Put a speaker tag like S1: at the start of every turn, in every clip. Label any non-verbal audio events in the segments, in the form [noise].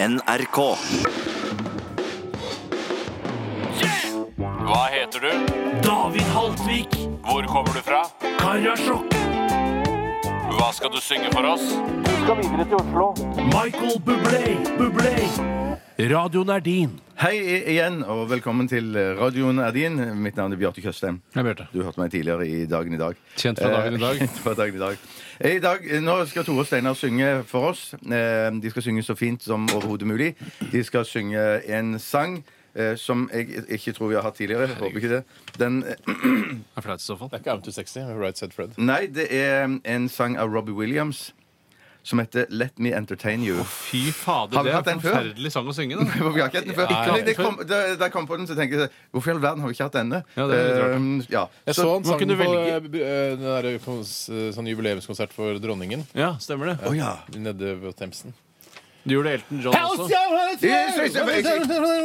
S1: NRK.
S2: Hva heter du?
S3: David Haltvik,
S2: Hvor kommer du fra?
S3: Karasjok,
S2: Hva skal du synge for oss?
S3: Michael Bublé, Bublé. Radioen er din.
S4: Hei i- igjen, og velkommen til radioen er din. Mitt navn er Bjarte Tjøstheim.
S5: Hei, Bjarte.
S4: Du hørte meg tidligere i Dagen i dag.
S5: Kjent fra dagen i dag.
S4: Eh, [laughs] kjent fra dagen i dag. Eh, I dag, eh, Nå skal Tore og Steinar synge for oss. Eh, De skal synge så fint som overhodet mulig. De skal synge en sang. eh, Som jeg ikke tror vi har hatt tidligere. Håper ikke det. Den, eh,
S5: Det er flaut i så fall.
S6: Det er ikke I'm Too Sexy, Right Said Fred.
S4: nei, det er en sang av Robbie Williams som heter Let Me Entertain You.
S5: Fy fader,
S4: Har vi
S5: det er
S4: hatt den
S5: en
S4: før?
S5: forferdelig sang å synge.
S4: [laughs]
S5: Da.
S4: Hvorfor vi har ikke hatt den før?
S5: Ikke hatt
S4: Fordi
S5: den
S4: det kom, da, da jeg kom på den, så tenkte jeg Hvorfor i all verden har vi ikke hatt denne?
S5: Ja, det er litt rart.
S4: Eh, ja.
S6: Jeg så,
S4: Så-
S6: han
S5: hva
S6: sang
S5: kunne du
S6: på eh, b- eh, den der, kons- eh, sånn jubileumskonsert for dronningen
S5: Ja, stemmer det.
S4: Å ja.
S6: nede ved Themsen.
S5: Du gjorde Elton John også.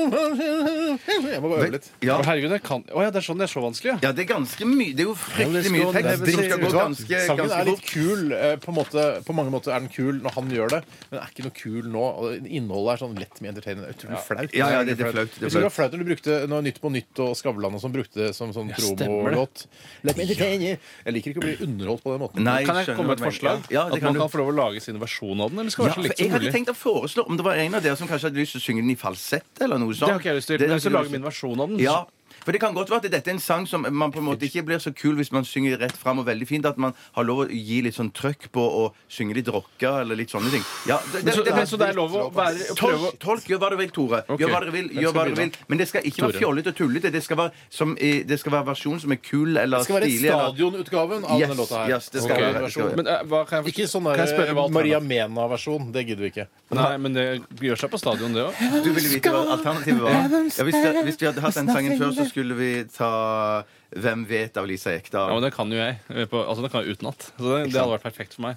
S6: Jeg må bare øve litt.
S4: Ja.
S5: Å, herregud, jeg kan... Å, ja, det er sånn det er så vanskelig, ja.
S4: Ja, det er ganske mye. Det er jo fryktelig
S5: Ja,
S4: mye
S5: men
S4: tekst.
S5: det skal-
S4: som skal
S6: Vet
S4: gå
S6: du hva?
S4: ganske,
S6: Sangen er
S4: ganske
S6: litt
S4: fort.
S6: kul. eh, På, en måte, på mange måter er den kul når han gjør det, men er ikke noe kul nå. Og Innholdet er sånn lett med entertainment. Det er Utrolig flaut.
S4: Ja, ja, det- det er flaut, det er
S6: Jeg synes det var flaut når du brukte når Nytt på Nytt og Skavlan og sånn brukte det som sånn promolåt. Let me entertain you. Jeg liker ikke å bli underholdt på den måten.
S4: Nei,
S5: Kan jeg
S4: skjønner
S5: komme med
S4: hva du mener.
S5: et forslag?
S4: Ja, det
S5: At
S4: kan
S5: man
S4: du.
S5: kan få lov å lage sin versjon av den? Eller skal
S4: Ja,
S5: være så
S4: for
S5: likt
S4: jeg
S5: som
S4: hadde
S5: mulig?
S4: tenkt å foreslå om det var en av dere som kanskje hadde lyst til å synge den i falsett eller noe sånt.
S5: Det har ikke jeg lyst til. Men jeg har lyst til å lage min versjon av den.
S4: Ja, for det kan godt være at dette er en sang som man på en måte ikke blir så kul hvis man synger rett fram og veldig fint. At man har lov å gi litt sånn trøkk på å synge litt rocka eller litt sånne ting. Ja, det,
S5: Men så, men så det er lov å være å prøve
S4: Tolk, tolk, gjør hva du vil, Tore.
S5: Ok.
S4: Gjør hva du vil,
S5: Hvem
S4: gjør
S5: skal
S4: hva du vil.
S5: begynne?
S4: Men det skal ikke være
S5: Tore.
S4: fjollete og tullete. Det skal være, som, i- det skal være versjon som er kul eller
S6: Det skal være
S4: stilig. eller-
S6: stadionutgaven av denne
S4: Yes,
S6: låta
S4: yes, det
S6: her. Ok,
S4: skal være- det skal
S6: versjon.
S4: være.
S5: å Men eh, hva kan jeg
S6: Ikke sånn
S5: Kan jeg spørre
S6: der
S5: hva
S6: Maria
S5: alternativet-
S6: Mena-versjon. Det gidder vi ikke.
S5: Nei, men det gjør seg på stadion, det òg.
S4: Du ville vite hva alternativet var? Ja, hvis, det, hvis vi hadde hatt den sangen før, så skulle vi ta Hvem vet av Lisa
S5: Ja, men
S4: Ekdal.
S5: det kan jo jeg. eh, På, altså, det kan jeg utenat. Så det, det hadde vært perfekt for meg.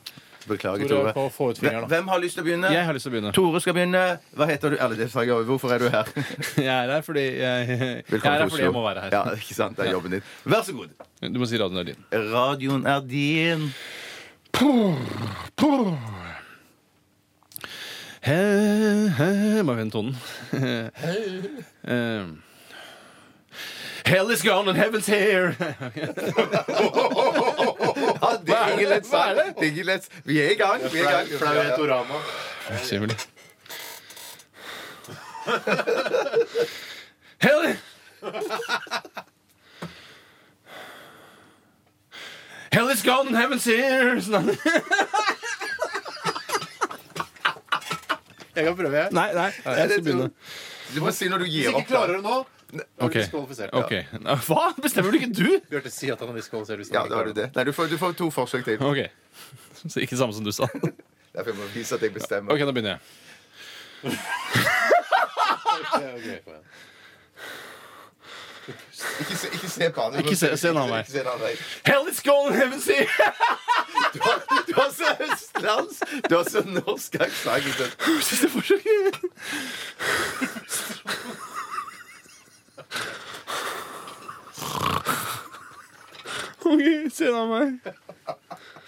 S4: Beklager,
S6: Tore, på å
S4: Tore.
S6: få ut
S4: Hvem
S6: fingeren, da.
S4: hvem har lyst til å begynne?
S5: Jeg har lyst til å begynne.
S4: Tore skal begynne. Hva heter du? Eller det sa jeg også. Hvorfor er du her?
S5: Jeg er her fordi jeg, jeg,
S4: Velkommen til
S5: er her
S4: Oslo.
S5: fordi jeg må være her.
S4: Ja, ikke sant? Det er jobben din. Vær så god.
S5: Du må si radioen er din.
S4: Radioen er din.
S5: He, he, må finne tonen. [laughs] Um, Hell is gone and heaven's here. [laughs]
S4: Ja, det er ikke lett
S5: Hva er
S4: sagt. Det er ikke lett. Vi er i gang. Vi er i gang. Flauhetorama.
S5: Skivelig. Hell Hell is gone and heaven's here. Sånn.
S6: Jeg kan prøve, jeg.
S5: Nei, nei, jeg skal begynne.
S4: Du må si når du
S6: Hvis
S4: gir
S6: ikke
S4: opp. da.
S6: klarer det nå, da er du
S5: Ok.
S6: diskvalifisert.
S5: Ok. Hva? Bestemmer du ikke du?
S6: Ja. Bjarte, si at han er diskvalifisert. Hvis han
S4: Ja,
S6: ikke
S4: da har
S6: klarer
S4: du det. Nei, du får, du får to forsøk til.
S5: Ok. [laughs] Så ikke det samme som du sa.
S4: Derfor må jeg vise at jeg bestemmer.
S5: [laughs] Ok, da begynner jeg.
S6: Ok, kom igjen.
S4: Ikke se, ikke se på han.
S5: Ikke se- se en annen vei.
S4: Ikke se en annen vei.
S5: Hell is gone and heaven's here.
S4: Du har, du har så østlands Du har så norsk aksent. ikke sant?
S5: Siste forsøk. OK, se av meg.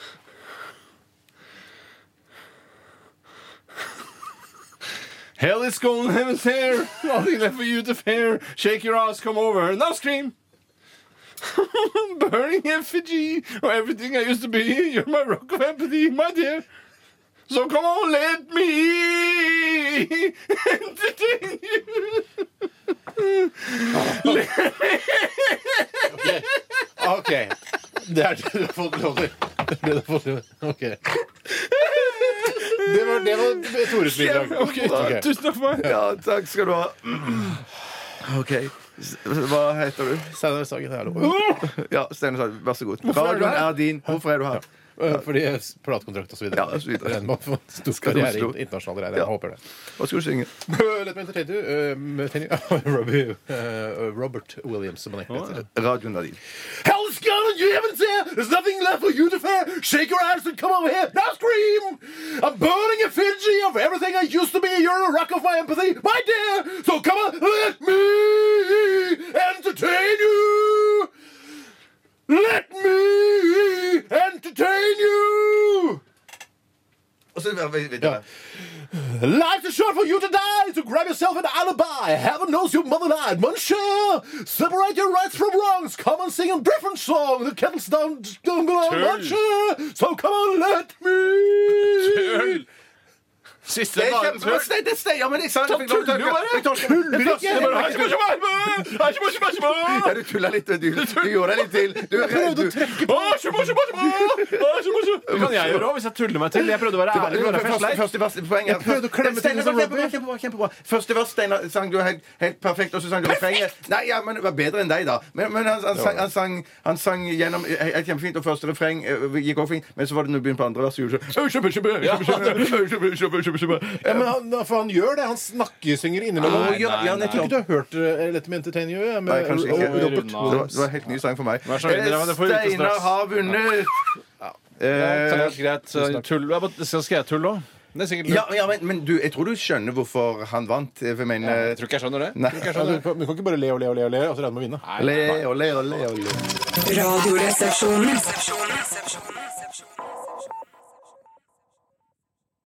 S5: [laughs] Hell is gone, heaven's here. Nothing left for you to fear. Shake your ass, come over. Now scream. [laughs] Burning effigy of everything I used to be. You're my rock of empathy, my dear. So come on, let
S6: [laughs]
S5: me entertain you.
S6: Ok. Det er det du har fått lov til. Det er det du har fått lov til. Ok. Det var, det var Tores bidrag. Ok.
S5: Tusen takk for meg.
S4: Ja, takk skal du ha. OK. S- Hva heter du?
S6: Steinar Sagen, hallo.
S4: Ja, Steinar Sagen, vær så god. Radioen
S6: her?
S4: er din. Hvorfor er du her?
S6: Eh, Fordi platekontrakt og så videre.
S4: Ja, og så videre.
S6: Regner med å få stor
S4: til
S6: karriere
S4: Oslo.
S6: i internasjonal
S4: Ja.
S6: regjering. Jeg håper det.
S4: Hva skal du synge?
S6: [laughs] Let me entertain you. eh, med [laughs] Tenny- Robbie, eh, Robert Williams, som han egentlig heter.
S4: Radioen er din.
S6: Hell's gone, you haven't said. There's nothing left for you to fear. Shake your ass and come over here. Now scream. I'm burning effigy of everything I used to be. You're a rock of my empathy, my dear. So come on, let me entertain you. Let me entertain you.
S4: Og så vær- vær- vær-
S6: Ja. Life's too short for you to die, so grab yourself an alibi. Heaven knows your mother lied. One share. Separate your rights from wrongs. Come and sing a different song. The kettle's down, down below.
S5: Turn.
S6: One share. So come on, let me.
S5: Øl. Siste
S4: Det er
S5: bare
S4: kjempebra. Nei, det er- Ja, men jeg sa det. jeg fikk lov til å
S5: Tuller du
S4: tørke.
S5: bare?
S4: Jeg tørker.
S6: Tuller du
S4: Jeg
S6: ikke?
S4: tørker. Jeg bare- Ja,
S5: tull.
S4: du tulla litt. Du, du gjorde deg litt til. Du, du,
S5: Det kan jeg gjøre òg, hvis jeg tuller meg til. Jeg prøvde å
S4: Ah,
S5: være ærlig. men det er først
S4: Første,
S5: leit.
S4: første vers poeng Jeg
S6: prøvde å klemme liksom
S4: Steinar,
S6: ting som
S4: kjempebra, kjempebra, kjempebra. Første vers, Steinar, sang du helt, helt perfekt, og så sang du refrenget. Nei, ja, men det var bedre enn deg, da. Men, men han, han, sang, han, sang, han sang gjennom helt kjempefint, og første refreng eh, gikk også fint, men så var det når du begynte på andre vers, så gjorde du sånn «Kjøpe, kjøpe, kjøpe, kjøpe, kjøpe, kjøpe, kjøpe».
S6: Ja, men han, for han gjør det. Han snakkesynger innimellom.
S4: Nei,
S6: Jeg
S4: nei,
S6: tror
S4: nei.
S6: ikke du har hørt eh, Let me entertain you eh,
S4: Nei,
S6: med
S4: kanskje ikke.
S6: Ro-
S4: Det
S6: Robert
S5: Runda.
S4: var, det var en helt ny sang for meg.
S5: Vær så snill, dere, men det får vi vite
S4: Steinar
S5: straks.
S4: har vunnet!
S5: Takk,
S4: Eh,
S5: greit. Så Tull. Jeg bare- Skal jeg tulle òg? Det er sikkert
S4: ja,
S5: lurt.
S4: ja, men, men du, jeg tror du skjønner hvorfor han vant. eh, Jeg mener
S5: Jeg tror ikke jeg skjønner det.
S4: Nei.
S5: Jeg tror ikke
S6: Ja,
S5: jeg
S6: du,
S5: skjønner det.
S6: du kan ikke bare le og le og le og le og så regne med å vinne.
S4: Ole, ole, ole, ole.
S1: Radioresepsjonen.